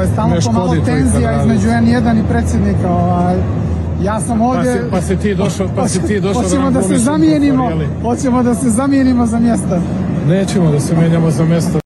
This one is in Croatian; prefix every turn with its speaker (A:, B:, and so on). A: je stalno
B: Ne
A: to malo
B: škodi to
A: tenzija
B: ikada, ali-
A: između N1 i predsjednika. Ovaj. Ja sam ovdje...
B: si- pa si ti došao- pa si ti došao da
A: Hoćemo
B: nam
A: da se
B: ponesemo
A: zamijenimo,
B: stvari, je li?
A: hoćemo da se zamijenimo za mjesta.
B: Nećemo da se menjamo za mjesto.